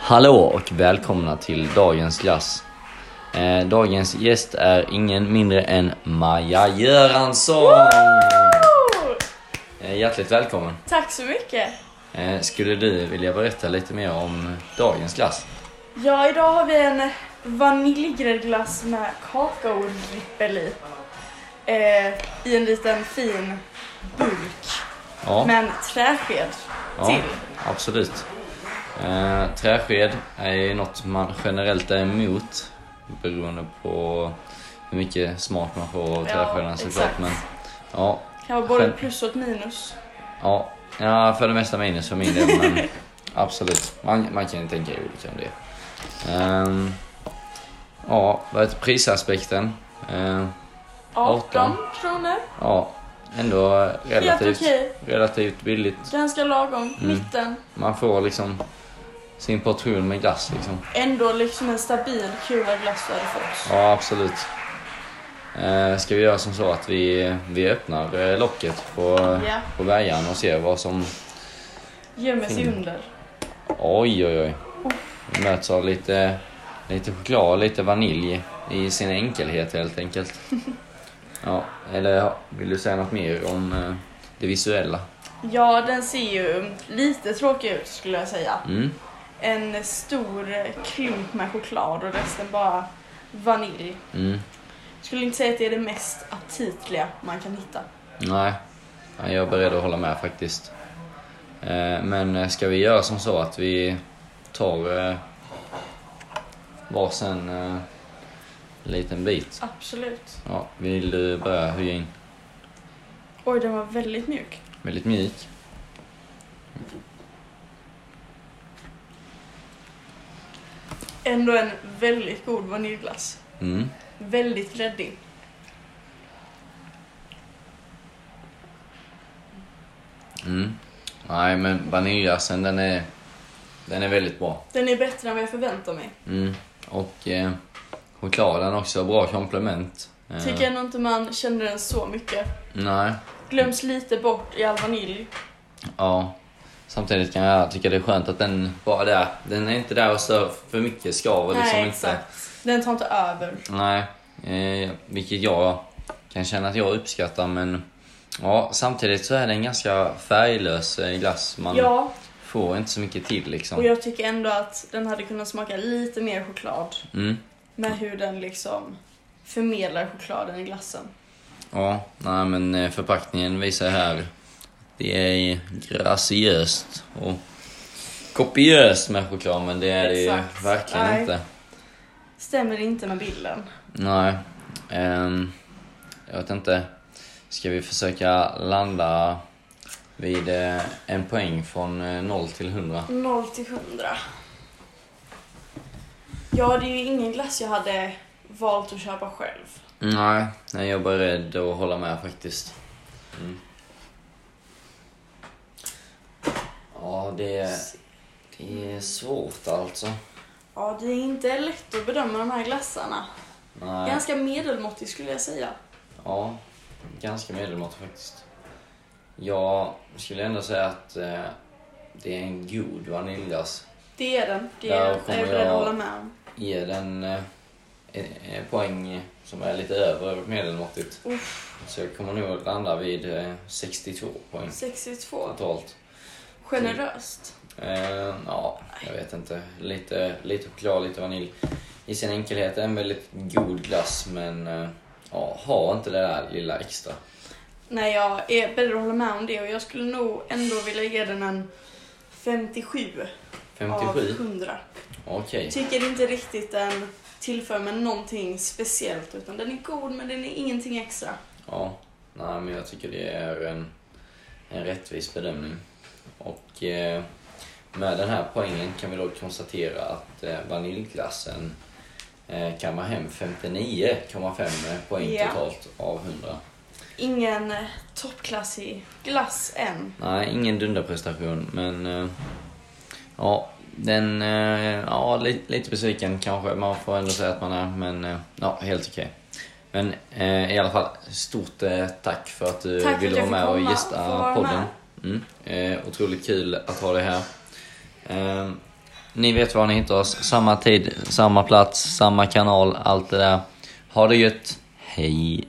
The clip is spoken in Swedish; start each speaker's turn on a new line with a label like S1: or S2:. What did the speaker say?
S1: Hallå och välkomna till dagens glass. Eh, dagens gäst är ingen mindre än Maja Göransson! Eh, hjärtligt välkommen.
S2: Tack så mycket!
S1: Eh, skulle du vilja berätta lite mer om dagens glass?
S2: Ja, idag har vi en vaniljgräddglass med kakaodrippel i. Eh, I en liten fin burk
S1: Ja,
S2: med en träsked
S1: ja
S2: till.
S1: absolut. Eh, träsked är ju något man generellt är emot beroende på hur mycket smak man får av träskeden såklart.
S2: exakt.
S1: Men, ja,
S2: Kan vara både
S1: Själv-
S2: plus och ett minus.
S1: Ja, ja för det mesta minus för min del. Men absolut, man, man kan ju tänka olika om det. Ehm, ja, vad heter prisaspekten? Ehm,
S2: 18
S1: Åttan.
S2: kronor.
S1: ja, ändå
S2: Helt
S1: relativt, Mm.
S2: okej.
S1: relativt billigt.
S2: Ganska lagom. Mitten.
S1: Man får liksom sin portion med glass liksom.
S2: Ändå liksom en stabil kula glass du hade fått.
S1: Ja, absolut. Ehm, ska vi göra som så att vi, vi öppnar eh, locket på,
S2: Ja.
S1: på bärgaren och ser vad som...
S2: Gömmer sig
S1: Fin.
S2: under.
S1: Oj, oj, oj. Vi möts av lite, lite choklad och lite vanilj i sin enkelhet helt enkelt. Ja, eller vill du säga något mer om eh, det visuella?
S2: Ja, den ser ju lite tråkig ut skulle jag säga.
S1: Mm.
S2: en stor klump med choklad och resten bara vanilj.
S1: Mm.
S2: Skulle inte säga att det är det mest aptitliga man kan hitta.
S1: Nej, Ja, jag är beredd att hålla med faktiskt. Eh, Men eh, ska vi göra som så att vi tar eh, varsin eh, liten bit?
S2: Absolut.
S1: Ja, vill du börja höja in?
S2: Oj, den var väldigt mjuk.
S1: Väldigt mjuk.
S2: Ändå en väldigt god vaniljglass.
S1: Mm.
S2: Väldigt gräddig.
S1: Mm. Nej, men vaniljglassen den är, den är väldigt bra.
S2: Den är bättre än vad jag förväntar mig.
S1: Mm. Och eh, chokladen också, bra komplement. Eh,
S2: Tycker ändå inte man känner den så mycket.
S1: Nej,
S2: Glöms lite bort i all vanilj.
S1: ja. Samtidigt kan jag tycka det är skönt att den bara är där. Den är inte där och stör för mycket skaver liksom
S2: Nej,
S1: inte.
S2: exakt. Den tar inte över.
S1: Nej, eh, vilket jag kan känna att jag uppskattar men ja, samtidigt så är det en ganska färglös eh, glass. Man
S2: Ja,
S1: får inte så mycket till
S2: och
S1: liksom.
S2: jag tycker ändå att den hade kunnat smaka lite mer choklad.
S1: Mm.
S2: Med hur den liksom förmedlar chokladen i glassen.
S1: Ja, nej men eh, förpackningen visar här. Det är graciöst och kopiöst med choklad men det är det ju
S2: Exakt.
S1: verkligen
S2: Nej.
S1: inte.
S2: Stämmer inte med bilden.
S1: Nej. Ehm, jag vet inte. Ska vi försöka landa vid eh, en poäng från eh, 0 till 100?
S2: 0 till 100. Ja, det är ju ingen glass jag hade valt att köpa själv.
S1: Nej, nej jag är beredd att hålla med faktiskt. Mm. Ja, det, det är svårt alltså.
S2: Ja, det är inte lätt att bedöma de här glassarna.
S1: Nej.
S2: Ganska medelmåttig skulle jag säga.
S1: Ja, ganska medelmåttig faktiskt. Jag skulle ändå säga att eh, det är en god vaniljglass.
S2: Det är den. Det
S1: Där
S2: är jag
S1: kommer
S2: är beredd
S1: jag-
S2: att hålla med om.
S1: Ge den eh, en poäng som är lite över medelmåttigt. Så jag kommer nog att landa vid eh, 62 poäng
S2: 62.
S1: totalt.
S2: Generöst.
S1: Eh, ja, jag vet inte. Lite, lite choklad, lite vanilj. I sin enkelhet en väldigt god glass men eh, ja, ha inte det där lilla extra.
S2: Nej, jag är beredd att hålla med om det och jag skulle nog ändå vilja ge den en 57 av
S1: 57?
S2: 100.
S1: Okej.
S2: Tycker inte riktigt den tillför mig någonting speciellt utan den är god men den är ingenting extra.
S1: Ja, nej, men jag tycker det är en, en rättvis bedömning. Och eh, med den här poängen kan vi då konstatera att eh, vaniljglassen eh, kammar hem 59,5 poäng
S2: Ja.
S1: totalt av 100.
S2: Ingen eh, toppklassig glass än.
S1: Nej, ingen dunderprestation, men eh, ja, den, eh, ja, lite, lite besviken kanske man får ändå säga att man är, men eh, ja, helt okej. Men eh, i alla fall, stort eh, tack för att du
S2: Tack för att
S1: ville
S2: jag
S1: vara med
S2: fick
S1: och
S2: komma och få
S1: gästa
S2: vara
S1: podden. Mm, eh, otroligt kul att ha dig här. Eh, Ni vet var ni hittar oss. Samma tid, samma plats, samma kanal, allt det där. Ha det gött. Hej.